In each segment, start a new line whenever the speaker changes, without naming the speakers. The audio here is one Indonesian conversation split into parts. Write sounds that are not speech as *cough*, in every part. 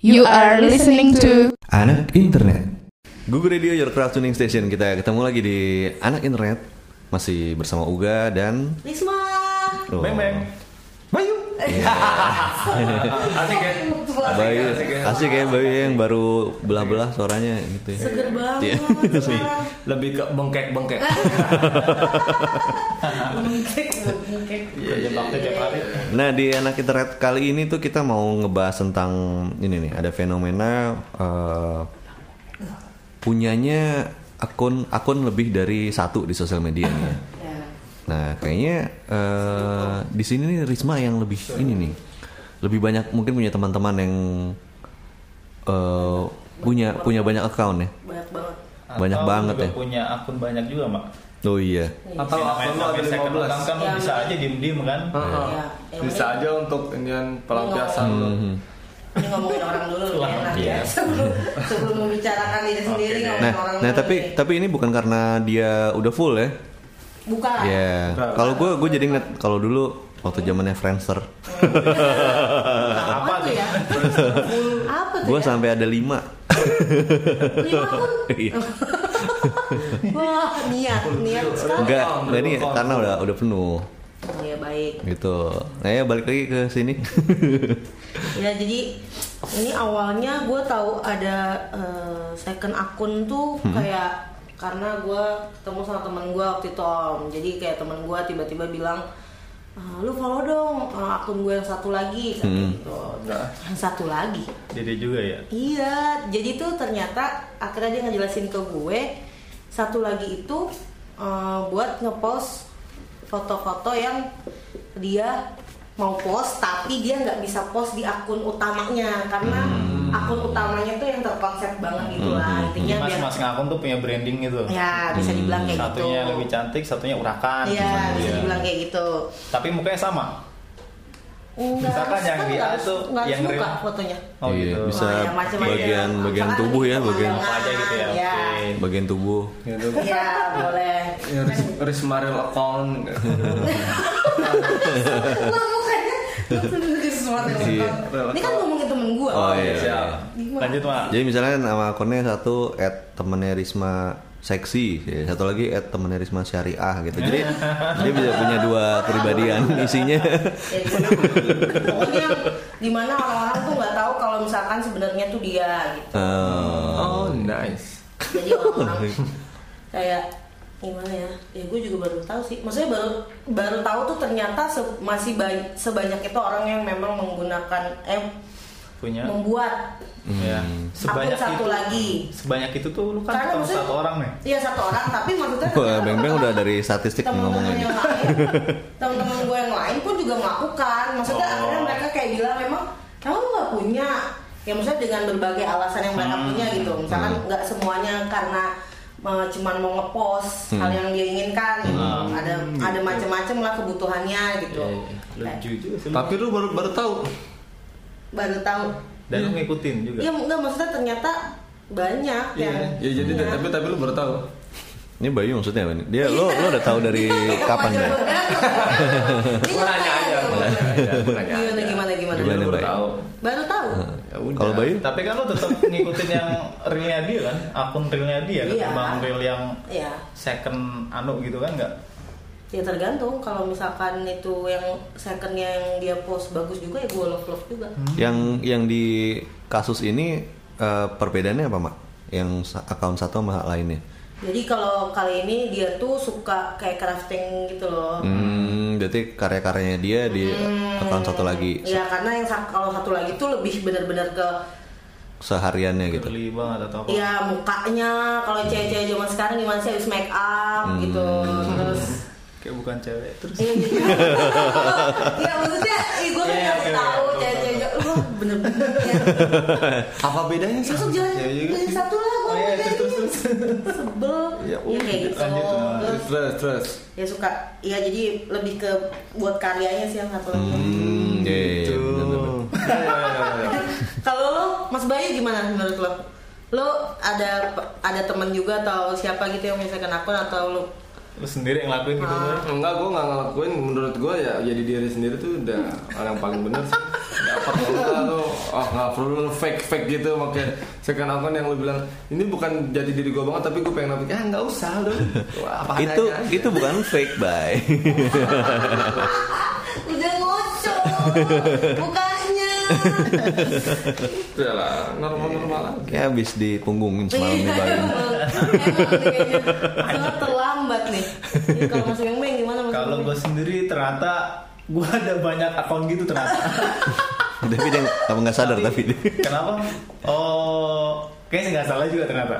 You are listening to
Anak internet.
Google Radio Your Crowd Tuning Station kita ketemu lagi di anak internet masih bersama Uga dan
Risma.
Oh,
Beng beng. Bayu. Asik ya.
Bayu,
asik ya.
asik ya Bayu yang baru belah-belah suaranya gitu. ya.
Seger banget.
Iya.
sekarang.
Lebih ke bengkek bengkek.
Mungkin, mungkin.
Iya iya praktek tiap hari.
*laughs* Nah di anak internet kali ini tuh kita mau ngebahas tentang ini nih ada fenomena eh, punyanya akun akun lebih dari satu di sosial media nih. ya.
Ya.
Nah, kayaknya eh di sini nih Risma yang lebih ini nih. Lebih banyak mungkin punya teman-teman yang eh punya punya banyak account ya.
Banyak banget.
Banyak
Atau
banget
juga
ya.
punya akun banyak juga, Mak.
Oh iya.
Atau akun lo ada
Sampai second account
15.
kan lo bisa aja diem-diem kan.
Heeh.
Ya, yang
Iya. Bisa
penting-
aja untuk inian pelampiasan lo.
Ini ngomongin orang dulu lebih enak ya.
Iya.
Sebelum sebelum membicarakan diri sendiri
Oke deh.
ngomongin
Nah,
orang
nah
dulu
tapi
nih.
tapi ini bukan karena dia udah full ya.
buka.
Ya. Kalau gue gue jadi inget kalau dulu waktu zamannya Friendster,
Apa tuh ya? Apa tuh?
gue
ya?
sampai ada lima.
Lima pun.
*laughs* Iya.
Wah, niat, niat sekali.
Enggak,
Belum
enggak nih
belum.
karena udah udah penuh
Oh ya baik.
gitu. Nah ya balik lagi ke sini.
Ya jadi ini awalnya gue tahu ada eh, second akun tuh kayak karena gue ketemu sama teman gue waktu itu om. Jadi kayak teman gue tiba-tiba bilang "Ah, lu follow dong eh, akun gue yang satu lagi kata gitu. Yang satu lagi.
Jadi juga ya.
Iya, jadi tuh ternyata akhirnya dia ngejelasin ke gue satu lagi itu eh, buat ngepost foto-foto yang dia mau post tapi dia nggak bisa post di akun utamanya karena
Hmm.
akun utamanya tuh yang terkonsep banget gitu lah intinya biar
Masing-masing akun tuh punya branding gitu.
ya bisa dibilang kayak gitu.
Hmm, Satunya lebih cantik, satunya urakan.
Iya,
Misalnya.
bisa
Iya.
dibilang kayak gitu.
Tapi mukanya sama.
Enggak,
Misalkan yang
kan
di
nggak
A
harus-
tuh
nggak harus
yang
buka
real.
fotonya.
Oh
Iya,
gitu.
bisa.
yang macam-macam.
bagian- bagian
Misalkan
tubuh ya,
ada
bagian-
pemandangan,
Apa aja gitu ya.
ya.
Oke.
Bagian tubuh.
Gitu.
Iya, boleh.
Ya, Ris- Risma real account.
Lo mukanya langsung menuju sesuatu yang
Iya.
betul. Ini kan ngomongin temen gue.
Oh iya.
Siap.
Gimana?
Lanjut, Mak.
Jadi misalnya nama akunnya satu at temennya Risma seksi, ya, satu lagi at temennya Risma syariah gitu. *laughs* Jadi dia bisa punya dua kepribadian *laughs* isinya.
Ya, gimana? Pokoknya dimana orang-orang tuh nggak tahu kalau misalkan sebenarnya tuh dia gitu.
Eh,
Oh nice.
Jadi orang-orang kayak gimana ya? Ya gue juga baru tahu sih. Maksudnya baru baru tahu tuh ternyata se- masih ba- sebanyak itu orang yang memang menggunakan eh
Punya.
membuat
Ya.
Hmm.
akun
Sebanyak
Iya. satu
itu.
lagi.
Sebanyak itu tuh lu kan
Karena
ketemu
maksudnya-
satu orang nih.
Iya satu orang, tapi maksudnya
Wah, Beng
ternyata
Beng udah
teman-teman-
dari statistik
teman-teman
ngomongnya.
yang lain, teman-teman gue yang lain pun juga melakukan. Maksudnya
Oh.
akhirnya mereka kayak bilang memang kamu nggak punya. Ya maksudnya dengan berbagai alasan yang mereka punya gitu. Misalkan nggak semuanya karena eh, cuman mau ngepost hal yang dia inginkan. gitu. Ada ada macam-macam lah kebutuhannya
Iya,
gitu.
Iya, Lu
Kayak
jujur sih. lu.
Tapi lu baru baru tahu.
Baru tahu.
Dan lu ngikutin juga.
Ya enggak maksudnya ternyata banyak yang
Iya. Ya jadi
*laughs*
tapi tapi lu baru tahu.
Ini Bayu maksudnya apa nih? Dia lo lo udah tahu dari
Iya,
kapan ya?
Gue
nanya aja, gua nanya aja, gua
Gimana
nanya aja.
Iya, gimana gimana.
Jadi lu
Gimana,
Iya, baru
Bay?
tahu.
Baru tahu.
Ya udah.
Kalau Bayu?
Tapi kan lu
*laughs*
tetap ngikutin yang realnya dia kan, akun realnya dia
Iya.
ketimbang real yang
Ya,
second anu gitu kan nggak?
ya tergantung kalau misalkan itu yang secondnya yang dia post bagus juga ya gue love love juga.
Yang yang di kasus ini eh, perbedaannya apa mak? Yang sa- akun satu sama lainnya?
Jadi kalau kali ini dia tuh suka kayak crafting gitu loh.
Hmm, berarti karya-karyanya dia di akun satu lagi se-
Ya karena yang sa- kalau satu lagi tuh lebih benar-benar ke
sehariannya gitu.
Geli banget atau apa?
ya mukanya kalau cewek-cewek zaman sekarang gimana sih habis make up gitu terus
Kayak bukan cewek terus.
Iya gitu. Iya, maksudnya gue kan
Iya,
ngasih
iya,
tahu
iya,
cewek-cewek wah bener-bener ya.
Apa Oh, bedanya sih?
besok jalan
Ya, ya,
jalan satu lah
Iya, Oh
gue
iya terus terus. terus. Iya,
sebel ya,
Ya,
kayak gitu
lanjut, lanjut.
terus
Terus terus terus.
ya suka ya jadi lebih ke buat karyanya sih yang satu lagi
Hmm, iya, iya,
gitu.
iya, bener-bener.
Ya, ya, ya, ya, ya.
kalau lo Mas Bayu gimana menurut lo lo ada ada temen juga atau siapa gitu yang misalkan akun atau lo
lu sendiri yang ngelakuin gitu Boy?
Enggak, gue nggak ngelakuin. Menurut gue ya jadi diri sendiri tuh udah orang paling bener sih. Gak perlu lah tuh, oh nggak perlu lu fake fake gitu makanya seakan-akan yang lu bilang ini bukan jadi diri gue banget tapi gue pengen nampil ah nggak usah lu apa
itu itu bukan fake bye *laughs*
Udah ngocok. Bukannya.
udah lah normal normal lagi
ya habis dipunggungin
Iya.
semalam nih
*laughs*
bye
Sangat terlambat nih. Ini Kalau masuk yang main gimana Mas
Kalau
Beng?
gue sendiri ternyata gue ada banyak akun gitu ternyata.
tapi dia kamu nggak sadar tapi dia
Kenapa? Oh, kayaknya nggak salah juga ternyata.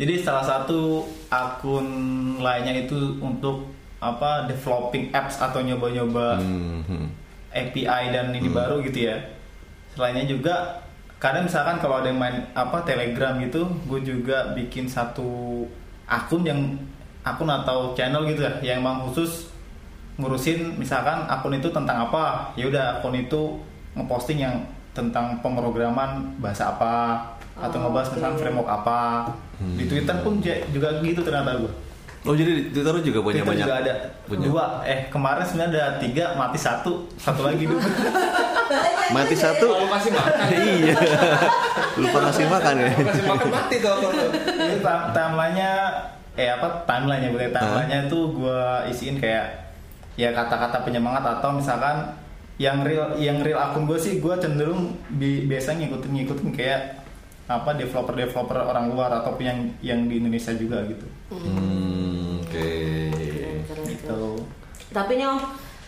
Jadi salah satu akun lainnya itu untuk apa developing apps atau nyoba-nyoba
Hmm, hmm.
API dan ini baru gitu ya. Selainnya juga kadang misalkan kalau ada yang main apa Telegram gitu, gue juga bikin satu akun yang akun atau channel gitu ya, yang emang khusus ngurusin misalkan akun itu tentang apa, ya udah akun itu ngeposting yang tentang pemrograman bahasa apa atau ngebahas tentang framework apa. Di
Hmm.
Twitter pun j- juga gitu ternyata gue.
oh jadi di Twitter lu juga punya
Twitter
banyak
juga ada
punya.
dua eh kemarin sebenarnya ada tiga mati satu satu lagi dulu
mati
*laughs*
satu
kalau kasih makan
iya lupa ngasih makan ya
kalau kasih makan mati tuh akun lu.
Ini tam- timelinenya eh apa timelinenya boleh timelinenya itu gue isiin kayak ya kata-kata penyemangat atau misalkan yang real yang real akun gue sih gue cenderung bi biasanya ngikutin ngikutin kayak apa developer developer orang luar ataupun yang yang di Indonesia juga gitu
Hmm, oke
gitu
Tapi nyom,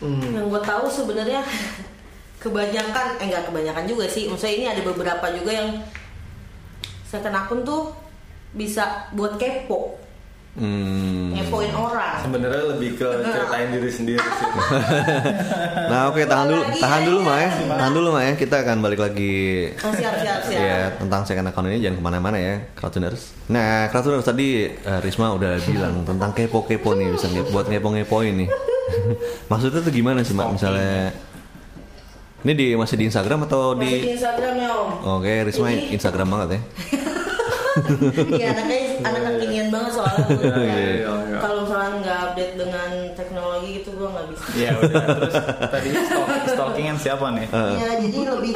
yang gue tahu sebenarnya *laughs* kebanyakan, eh nggak kebanyakan juga sih. Maksudnya ini ada beberapa juga yang second akun tuh bisa buat kepo,
Hmm.
ngepoin orang.
sebenarnya lebih ke ceritain diri sendiri sih
Nah oke tahan dulu tahan dulu Maya tahan dulu Maya kita akan balik lagi
Oh, siap, siap, siap.
ya tentang second account ini jangan kemana-mana ya Kratuners Nah Kratuners tadi eh, Risma udah bilang tentang kepo-kepo nih bisa nge- buat ngepo-ngepoin nih *laughs* Maksudnya tuh gimana sih Mak misalnya Ini di masih di Instagram atau
Masih di
di
Instagram ya om.
Oke Risma
Ini-
Instagram banget ya
Iya anaknya *laughs* anak kekinian banget *laughs* soalnya. gua kayak,
Iya, iya, iya.
Kalau misalnya nggak update dengan teknologi gitu gue nggak bisa.
ya udah terus tadi stalk- stalkingan siapa nih
Ya jadi lebih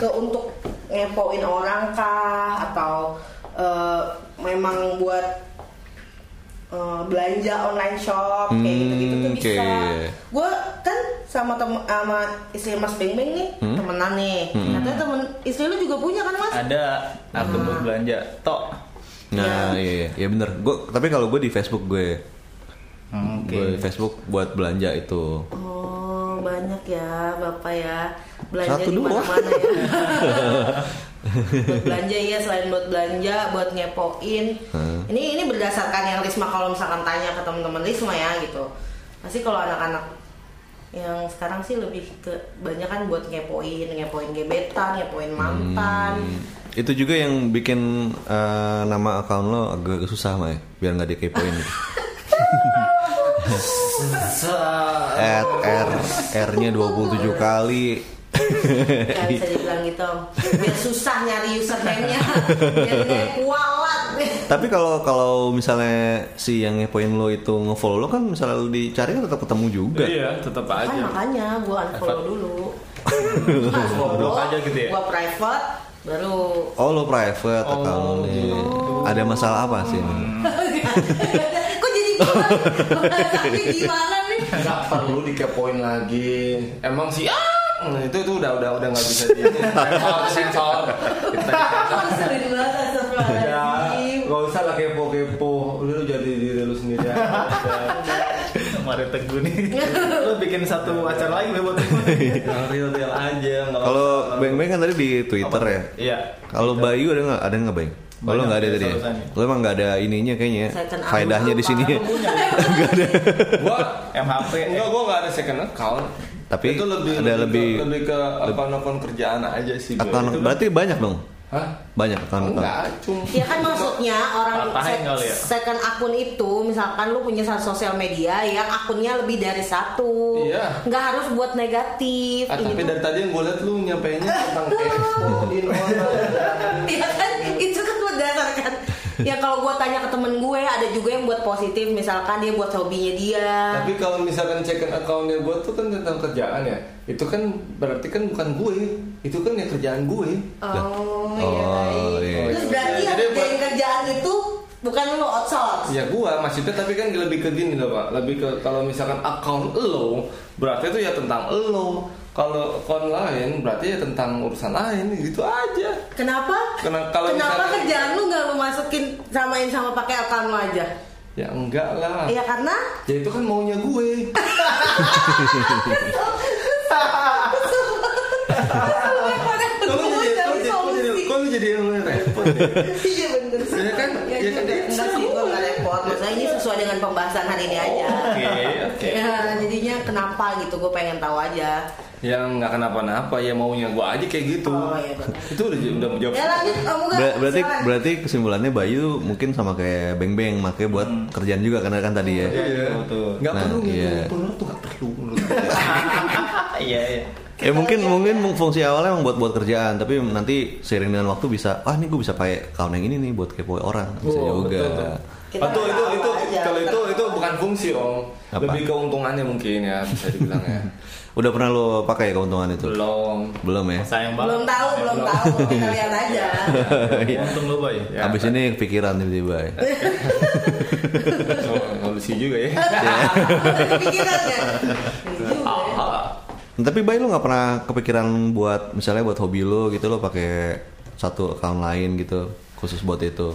ke untuk ngepoin orang kah atau eh, memang buat eh, belanja online shop kayak
Hmm,
gitu-gitu tuh bisa.
oke.
Gue kan sama tem sama istri Mas Beng Beng nih
Hmm?
temenan nih. Katanya temen istri lu juga punya kan Mas?
ada akun buat belanja tok
Nah iya iya ya bener gua, Tapi kalau gue di Facebook gue
Hmm, oke
Gue di Facebook buat belanja itu
Oh banyak ya bapak ya belanja
Satu
di
doang.
mana-mana ya. buat belanja ya selain buat belanja buat ngepoin. Ini ini berdasarkan yang Risma kalau misalkan tanya ke teman-teman Risma ya gitu. Pasti kalau anak-anak yang sekarang sih lebih ke banyak kan buat ngepoin ngepoin gebetan ngepoin mantan.
Itu juga yang bikin eh, nama account lo agak susah Mai, biar nggak dikepoin. at R R-nya 27 kali.
Ya bisa dibilang gitu. Biar susah nyari username-nya. Biar nggak kualat.
Tapi kalau kalau misalnya si yang ngepoin lo itu ngefollow lo kan misalnya lo dicari kan tetap ketemu juga.
iya tetap
Kan
aja
makanya gue unfollow dulu. Gua unfollow,
Blok aja gitu ya?
Gua private baru
Oh lo private account lo nih.
gitu.
Ada masalah apa sih ini?
Eh, Kok jadi gimana? Tapi gimana nih?
nggak perlu dikepoin lagi emang sih ah Nah, itu itu udah udah udah nggak bisa di *laughs* sensor sensor kita
Aku sering banget astagfirullahaladzim.
Iya. nggak usah lah kepo kepo lu jadi diri lu sendiri
*laughs*
kemarin teguh
*laughs*
nih lo bikin satu acara lagi Boy, buat Teguh.
yang real real aja nggak
Kalau Beng Beng kan tadi di Twitter ya.
Iya.
Kalau Bayu ada nggak ada nggak Beng? Oh, lo
Banyak
nggak ada
ya,
tadi ya?
solusannya.
Lo emang nggak ada ininya kayaknya. ya?
Second account
Faedahnya di sini.
apa?
gua
MHP.
enggak gua nggak ada second account
Tapi
itu lebih
ada lebih-
ke, lebih ke akun akun kerjaan aja sih gua.
Account
Iya, Itu-
berarti banyak dong.
hah
Banyak account
enggak cuma
Ya kan maksudnya orang
Patahin
sek-
kali ya.
second akun itu misalkan lu punya satu sosial media yang akunnya lebih dari satu,
Iya.
nggak harus buat negatif. Iya
Ah,
Ini
tapi
tuh- *laughs*
dari tadi yang gue liat lu nyampeinnya tentang kepoin orang
Iya kan itu kan berdasarkan ya kalau gue tanya ke temen gue ada juga gue yang buat positif misalkan dia buat hobinya dia
Tapi kalau misalkan check-in accountnya gue tuh kan tentang kerjaan ya Itu kan berarti kan bukan gue Itu kan ya kerjaan gue
oh,
Oh, iya.
terus berarti yang
Jadi buat-
kerjain kerjaan itu bukan lo outsource
Ya gue maksudnya tapi kan lebih ke gini loh pak Lebih ke kalau misalkan account lo Berarti itu ya tentang lo Kalau account lain berarti ya tentang urusan lain Gitu aja
kenapa
Kena- kalau
kenapa
misalkan-
kerjaan lu nggak lu masukin samain sama pakai account lo aja
Ya enggak lah
ya karena
Ya itu kan maunya
*laughs*
gue
*laughs*
Kok lu jadi, kok lu jadi, kok lu jadi, kok lu jadi yang repot ya?
Iya bener
Ya kan?
Ya,
Ya kan? Iya.
juga. Enggak sih, gue nggak repot Maksudnya ini sesuai dengan pembahasan hari ini aja
Oh,
Oke, oke.
Ya, jadinya kenapa gitu, gue pengen tahu aja
yang nggak Ya, kenapa-napa ya maunya gue aja kayak gitu
Oh, iya, benar.
itu udah udah menjawab
Ya lanjut, kamu kan
Ber- berarti berarti kesimpulannya Bayu mungkin sama kayak Beng Beng makanya buat kerjaan juga karena kan tadi ya.
Hmm. Iya.
Betul.
nggak
Nah,
perlu
iya.
gitu perlu tuh nggak perlu menurut gue.
Iya, iya.
Ya mungkin mungkin fungsi awalnya emang buat buat kerjaan tapi nanti seiring dengan waktu bisa ah ini gue bisa pakai account yang ini nih buat kepo orang bisa
Oh,
juga.
betul, betul.
Kita
Atau itu
nggak
itu
tahu aja.
kalau itu itu bukan fungsi om
Apa?
lebih keuntungannya mungkin ya bisa dibilang
*laughs*
ya
Udah pernah lo pakai keuntungan itu?
belum
Belum ya.
Sayang
Belum
banget. Iya,
tahu, belum tahu Kita lihat aja
*laughs*
*laughs*
Untung lu, Boy.
Ya,
Abis ini kepikiran tiba-tiba. ya.
so- solusi juga
*laughs*
ya
Pikiran ya
Iya.
Juga ya.
Nah, tapi Bayu lo nggak pernah kepikiran buat misalnya buat hobi lo gitu lo pakai satu account lain gitu khusus buat itu.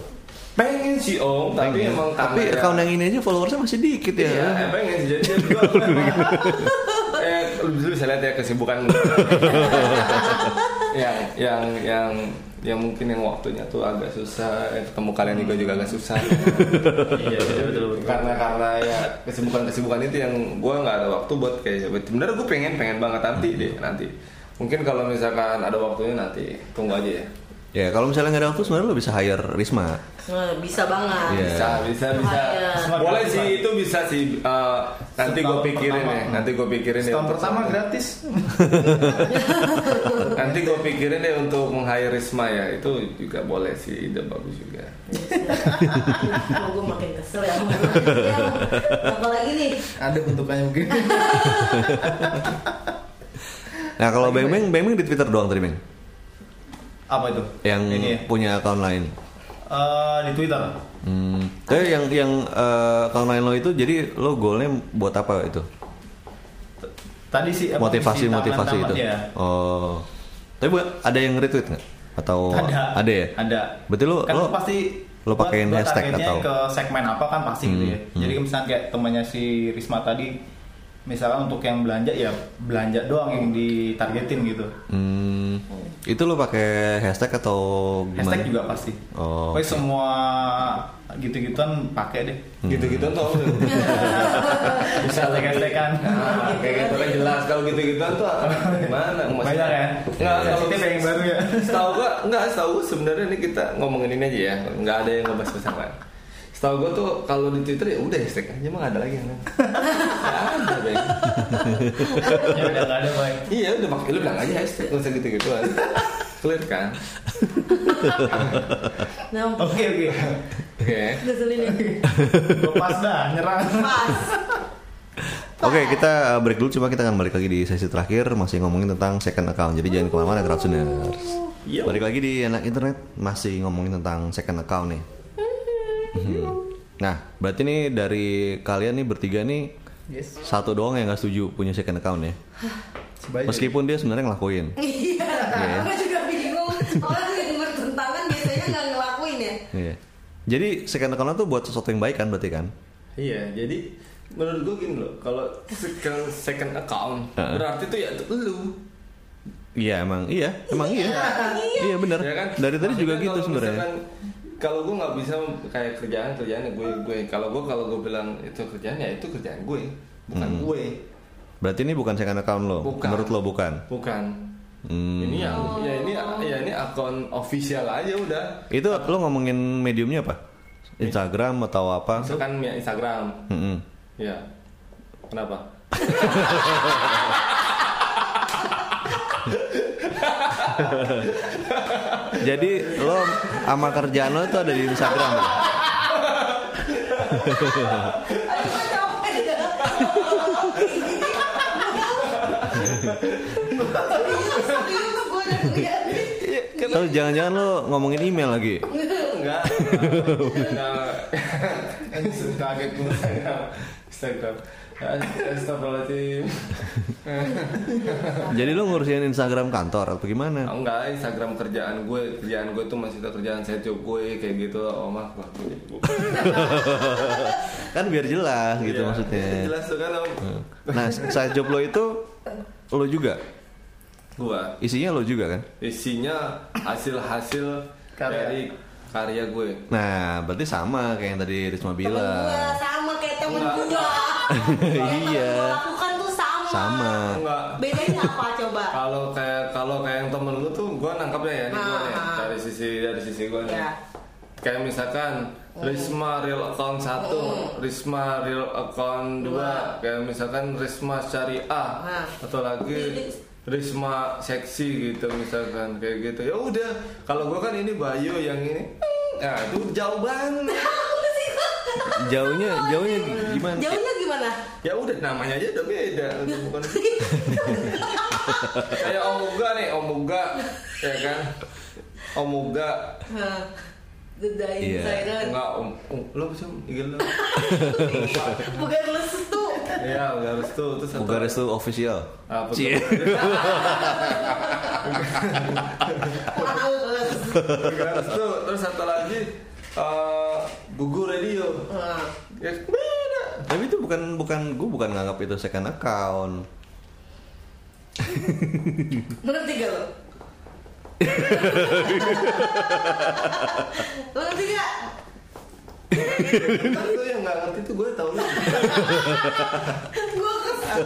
pengen sih om tapi
Pengen.
emang
tapi
karena ya-
account yang ini aja followersnya masih dikit ya.
Iya, pengen sih
*laughs*
jadi gua eh lu bisa lihat ya kesibukan
*laughs*
gua. yang yang yang yang mungkin yang waktunya tuh agak susah eh, ketemu kalian juga juga agak susah
Iya, betul, betul, betul.
karena karena ya kesibukan kesibukan itu yang gua nggak ada waktu buat kayak gitu. bener gue pengen pengen banget nanti deh nanti mungkin kalau misalkan ada waktunya nanti tunggu aja ya
Ya kalau misalnya nggak ada waktu sebenarnya lo bisa hire Risma.
Nah, Bisa banget
Iya.
bisa bisa bisa
Lumayan.
boleh sih itu bisa sih Eh, nanti gue
Setahun
pikirin
pertama.
ya nanti gue pikirin ya
Setahun
untuk
pertama
sama-
gratis.
Nanti gue pikirin deh untuk meng-hire Risma ya Itu juga boleh sih, ide bagus juga
Gue makin kesel ya Apalagi nih
Ada bentukannya mungkin.
Nah kalau Beng Beng, Beng Beng di Twitter doang tadi Beng.
Apa itu?
Yang
ini ya?
punya account lain.
Eh, di Twitter.
Hmm. Tapi yang yang eh, account lain lo itu jadi lo goalnya buat apa itu?
Tadi sih apa,
Motivasi
isi
motivasi
taman-taman,
itu.
ya.
Oh. Tapi buat- ada yang retweet nggak? Atau
Ada.
ya?
Ada.
Berarti lo
kan
lo
pasti
lo
gua-
pakein
gua
hashtag
targetnya
atau- Hmm,
ke segmen apa kan pasti gitu ya. Jadi misalnya kayak temannya si Risma tadi misalnya untuk yang belanja ya belanja doang yang ditargetin gitu.
Hmm. Itu lo pakai hashtag atau gimana?
Hashtag juga pasti.
Oh,
Pokoknya semua gitu-gituan pakai deh.
*laughs* Gitu-gitu tuh Bisa
Hashtag hashtagan.
Nah, kayak gitu kan jelas Kalau gitu-gitu tuh gimana?
Banyak ya.
Iya.
Nggak, kalau
Sensitif ya yang baru
*laughs*
ya.
Setahu gua, nggak setahu gua sebenarnya ini kita ngomongin ini aja ya Nggak ada yang ngebahas bersama Setahu gua tuh kalau di Twitter ya udah hashtag aja Emang ada lagi yang lain Nggak ada, Bang.
ya udah nggak ada baik.
Iya udah pakai lu bilang aja hashtag Nggak usah gitu-gituan Clear kan?
Nah,
Oke
*laughs*
oke.
Oke
keselin ya
Lepas dah nyerang.
Pas
Oke, kita eh, break dulu cuma kita akan balik lagi di sesi terakhir masih ngomongin tentang second account. Jadi jangan kemana-mana Crowdsuners. Balik lagi di anak internet masih ngomongin tentang second account nih.
Mm-hmm.
Mhm. Nah, berarti nih dari kalian nih bertiga nih
Yes.
satu doang yang nggak setuju punya second account ya.
Sebaik.
Meskipun dia sebenarnya ngelakuin.
Iya, gue juga bingung. Orang yang bertentangan biasanya nggak ngelakuin ya.
Iya. Jadi second account tuh buat sesuatu yang baik kan berarti kan?
Iya, jadi menurut gue gini loh, kalau second, second account
Heeh.
berarti tuh ya tuh lu.
Iya emang iya emang iya iya benar
Ya kan?
dari tadi juga
Maksudnya
gitu
kalau
sebenarnya
misalkan- Kalau gue nggak bisa kayak kerjaan kerjaan gue gue kalau gue kalau gue bilang itu kerjaan ya itu kerjaan gue bukan
Hmm.
gue
berarti ini bukan second account lo
Bukan.
menurut lo bukan
bukan
Hmm.
ini ya ya ini ya ini akun official aja udah
Itu lo ngomongin mediumnya apa? Instagram atau apa? Hmm.
misalkan ya Instagram
Mm-mm.
ya kenapa
ya? Jadi lo sama kerjaan lo itu ada di Instagram.
Aduh, gua capek. Serius, serius, gua udah ngeliatin.
Tahu jangan-jangan lo ngomongin email lagi.
Enggak. Enggak. Kaget gue Instagram. Instagram. Astagfirullahaladzim
Jadi lo ngurusin Instagram kantor atau gimana?
Ah, Enggak, Instagram kerjaan gue Kerjaan gue tuh masih tetap kerjaan saya job gue Kayak gitu, oh mah gua- gua-
Kan biar jelas gitu
Iya,
maksudnya.
itu Jelas tuh kan om
Nah, side job lo itu lo juga.
Gue
Isinya lo juga kan?
isinya hasil-hasil
Karya.
dari karya gue
Nah, berarti sama kayak yang tadi Risma
Temen gua
bilang.
sama kayak temen gua.
Enggak.
Yang temen
*laughs* Iya.
gua lakukan tuh sama.
Sama.
enggak
Bedanya apa coba?
kalau kayak kalau kayak yang temen lu tuh gue nangkapnya ya ini gua nih,
Ah.
dari sisi dari sisi gue nih
Ya.
kayak misalkan
Hmm.
Risma real account 1, Risma real account 2, kayak misalkan Risma syariah
Nah.
atau lagi Risma seksi gitu misalkan kayak gitu. Ya udah, kalau gua kan ini Bayu yang ini. Nah, itu jauh banget.
Jauhnya, jauhnya gimana?
Jauhnya gimana?
ya udah namanya aja udah beda udah bukan gitu. kayak omuga nih omuga ya kan omuga
Hah. The dying
Iya.
silent.
enggak om, om Iya, lo bisa igel lo
Bukan lesu tuh.
ya udah harus tuh terus satu-
Bukares tuh official. Iya.
Ah, betul.
Cie.
Bukan harus tuh terus satu lagi eh, gugur radio
Nah,
ya beda
Tapi itu bukan bukan gue bukan nganggap itu second account.
Ngerti gak lo? Lo ngerti gak?
tapi tuh yang nggak ngerti tuh gue tau lu
Gue kesel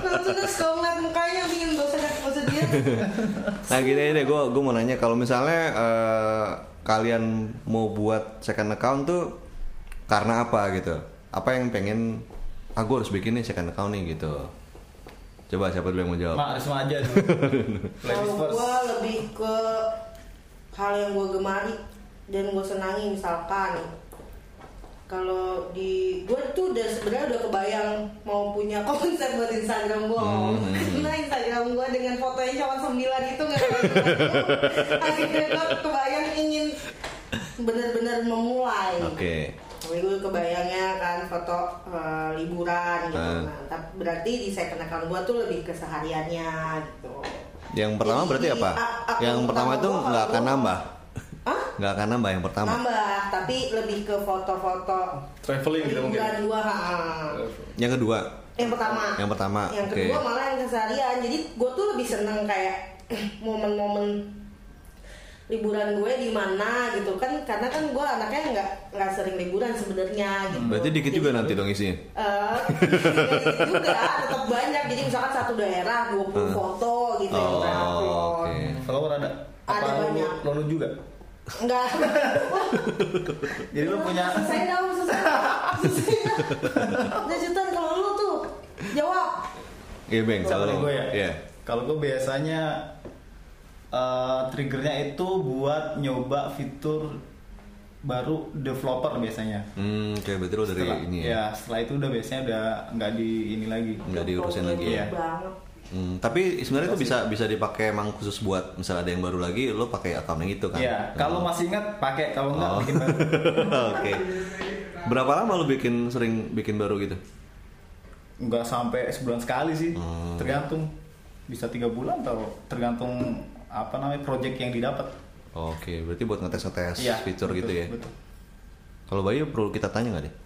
Langsung terus kalau ngeliat mukanya bikin bosan bosan dia
Nah gini aja deh, gue gue mau nanya kalau misalnya eh, kalian mau buat second account tuh karena apa gitu? Apa yang pengen? Ah gue harus bikin nih second account nih gitu. Coba siapa dulu yang mau jawab?
Mak Risma aja
*laughs*
dulu. Ladies
Kalau
first.
gue lebih ke hal yang gue gemari dan gue senangi misalkan kalau di gue tuh udah sebenarnya udah kebayang mau punya *laughs* konsep buat Instagram gue karena Instagram gue dengan fotonya cuma sembilan itu nggak kebayang. akhirnya gue kebayang ingin benar-benar memulai
Oke.
tapi gue kebayangnya kan foto eh, liburan gitu
Ah.
nah, tapi berarti di second account gue tuh lebih kesehariannya gitu
Yang pertama
Jadi,
berarti apa?
a- akun
Yang pertama itu
gua
nggak akan
kalau-
nambah,
Hah?
nggak akan nambah yang pertama.
nambah tapi lebih ke foto-foto
traveling gitu mungkin
liburan gue ha.
Yang kedua,
yang pertama
Yang pertama,
yang
oke.
kedua malah yang keseharian jadi gue tuh lebih seneng kayak eh, momen-momen liburan gue di mana gitu kan karena kan gue anaknya nggak nggak sering liburan sebenarnya gitu
Hmm. berarti dikit
Jadi-
juga nanti dong isinya.
Eh, juga tetap banyak jadi misalkan satu daerah 20
Hmm.
foto gitu yang
Oh,
gue upload
oke.
Follower ada.
Ada
Apa lu-
banyak.
Lo, lu juga.
enggak
Jadi lu punya
selesai dong
*laughs*
selesai selesai dong. Nah, Jutan, kalau lu tuh jawab
Iya bang,
Kalau
salah
dari
lo.
gue ya.
Iya.
Kalau gue biasanya eh, triggernya itu buat nyoba fitur baru developer biasanya.
Hmm, oke berarti lo dari
Setelah-
ini
ya,
ya.
setelah itu udah biasanya udah nggak di ini lagi.
Nggak diurusin lagi
Iya.
ya.
banget
Hmm, tapi sebenarnya itu bisa bisa dipakai emang khusus buat misalnya ada yang baru lagi, lo pakai account yang itu kan?
Iya, kalau masih ingat pakai, kalau nggak
Oh.
bikin baru.
*laughs* Oke. Berapa lama lo bikin sering bikin baru gitu?
Nggak sampai sebulan sekali sih,
Oh.
tergantung bisa tiga bulan atau tergantung apa namanya project yang didapat.
Oke, berarti buat ngetes-ngetes
Iya,
fitur
betul,
gitu ya.
betul.
Kalau Bayu perlu kita tanya nggak deh?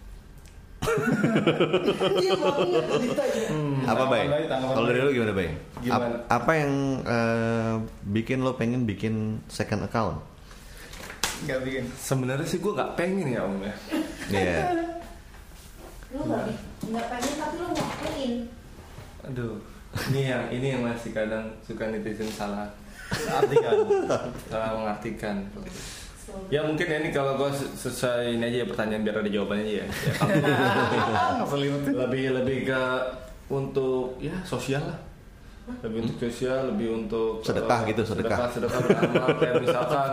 Iya, banget. Ditanya.
apa
tanggapan
Bay?
Bay, tanggapan
Kalau dari
Bay.
lo gimana Bay?
Gimana?
Ap- apa yang eh, bikin lo pengen bikin second account?
Nggak bikin.
sebenarnya sih gue nggak pengen ya om ya
*laughs*
Iya.
lu nggak nggak pengen tapi lu ngapain
aduh ini yang ini yang masih kadang suka netizen salah
Artikan.
salah mengartikan ya mungkin ya ini kalau gue sesuai ini aja ya pertanyaan biar ada jawabannya aja ya, ya kalau
Ngeselin banget.
lebih lebih ke untuk ya sosial lah lebih untuk sosial, lebih untuk
Sedekah
eh,
gitu, sedekah.
sedekah, beramal, kayak misalkan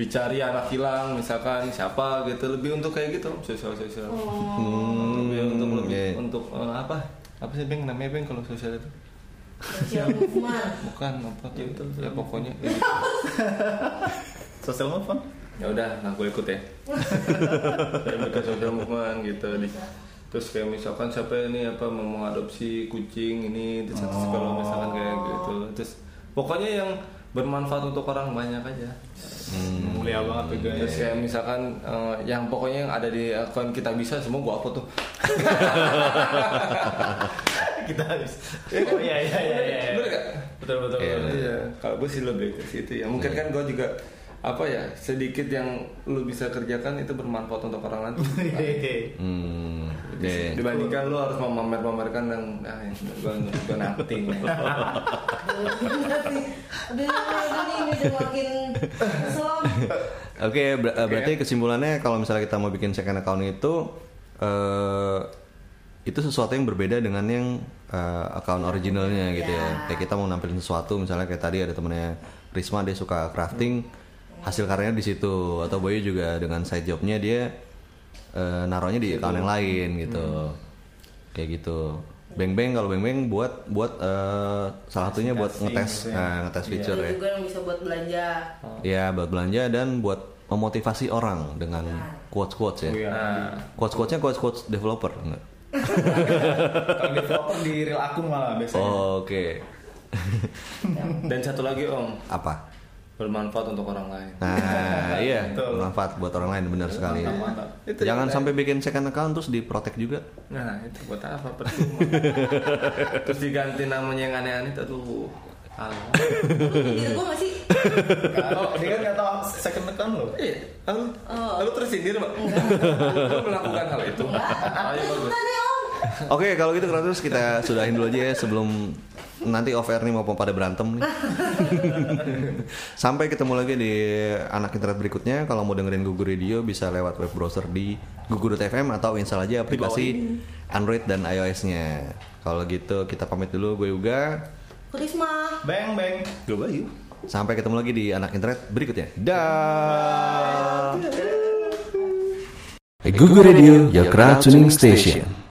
dicari anak hilang, misalkan siapa gitu, lebih untuk kayak gitu sosial sosial, lebih untuk lebih
iya.
untuk eh, apa? Apa sih beng namanya beng kalau sosial itu?
*laughs* Social movement.
Bukan apa gitu, ya pokoknya. ya gitu.
Social movement.
ya udah nah gue *laughs* ikut ya Saya ikut social movement gitu di terus kayak misalkan siapa ini apa mau mengadopsi kucing ini terus terus kalau misalkan kayak gitu terus pokoknya yang bermanfaat untuk orang banyak aja
Mulia banget tujuannya.
terus kayak misalkan eh, yang pokoknya yang ada di akun kita bisa semua gue upload tuh
Kita habis. Oh iya iya iya iya.
Bener gak?
Betul betul.
Iya,
betul.
Iya, kalau gue sih lebih ke situ ya. Mungkin kan gue juga apa ya sedikit yang lu bisa kerjakan itu bermanfaat untuk orang *laughs* lain.
Hehehe.
Hmm, deh.
dibandingkan lu harus memamer-pamerkan yang ah ya sudah gua gua nothing
Aduh, ini udah makin kesel.
Oke, ber- eh, berarti kesimpulannya kalau misalnya kita mau bikin second account itu eh itu sesuatu yang berbeda dengan yang eh, account
Iya,
originalnya gitu ya. Kayak kita mau nampilin sesuatu misalnya kayak tadi ada temennya Risma dia suka crafting,
Hmm.
hasil karyanya di situ atau Boy juga dengan side jobnya dia eh, naruhnya di account yang lain gitu.
Hmm.
Kayak gitu. Beng Beng kalau Beng Beng buat buat eh, salah satunya buat
Casting
ngetes
gitu ya.
eh, ngetes feature
Ada
ya.
juga yang bisa buat belanja.
Ya buat belanja dan buat memotivasi orang dengan quotes quotes ya.
Iya.
nah
Quotes quotesnya quotes quotes developer enggak?
Kalau developer di real akun malah biasanya.
Oke.
dan satu lagi om
Apa?
bermanfaat untuk orang lain
Nah iya
Betul.
bermanfaat buat orang lain benar sekali.
mantap. Itu
Jangan
yang
sampai bikin second account terus diprotek juga.
nah itu buat apa percuma terus diganti namanya yang aneh-aneh tuh
Lu nyindir Gitu gua gak sih?
Oh, dia kan nggak tahu second account loh.
Iya, lalu,
Oh.
lalu tersindir mbak. Lu melakukan hal itu. Ayo bagus.
Bukan ya, Om.
Oke kalau gitu terus kita sudahin dulu aja ya sebelum nanti off air nih mau pada berantem nih. Sampai ketemu lagi di anak internet berikutnya. Kalau mau dengerin Gugu Radio bisa lewat web browser di gugu.fm atau install aja aplikasi Android dan iOS-nya. Kalau gitu kita pamit dulu gue juga.
Kurisma.
Bang bang.
Gue Bayu. Sampai ketemu lagi di anak internet berikutnya. Dah.
Google Radio, your crowd tuning station.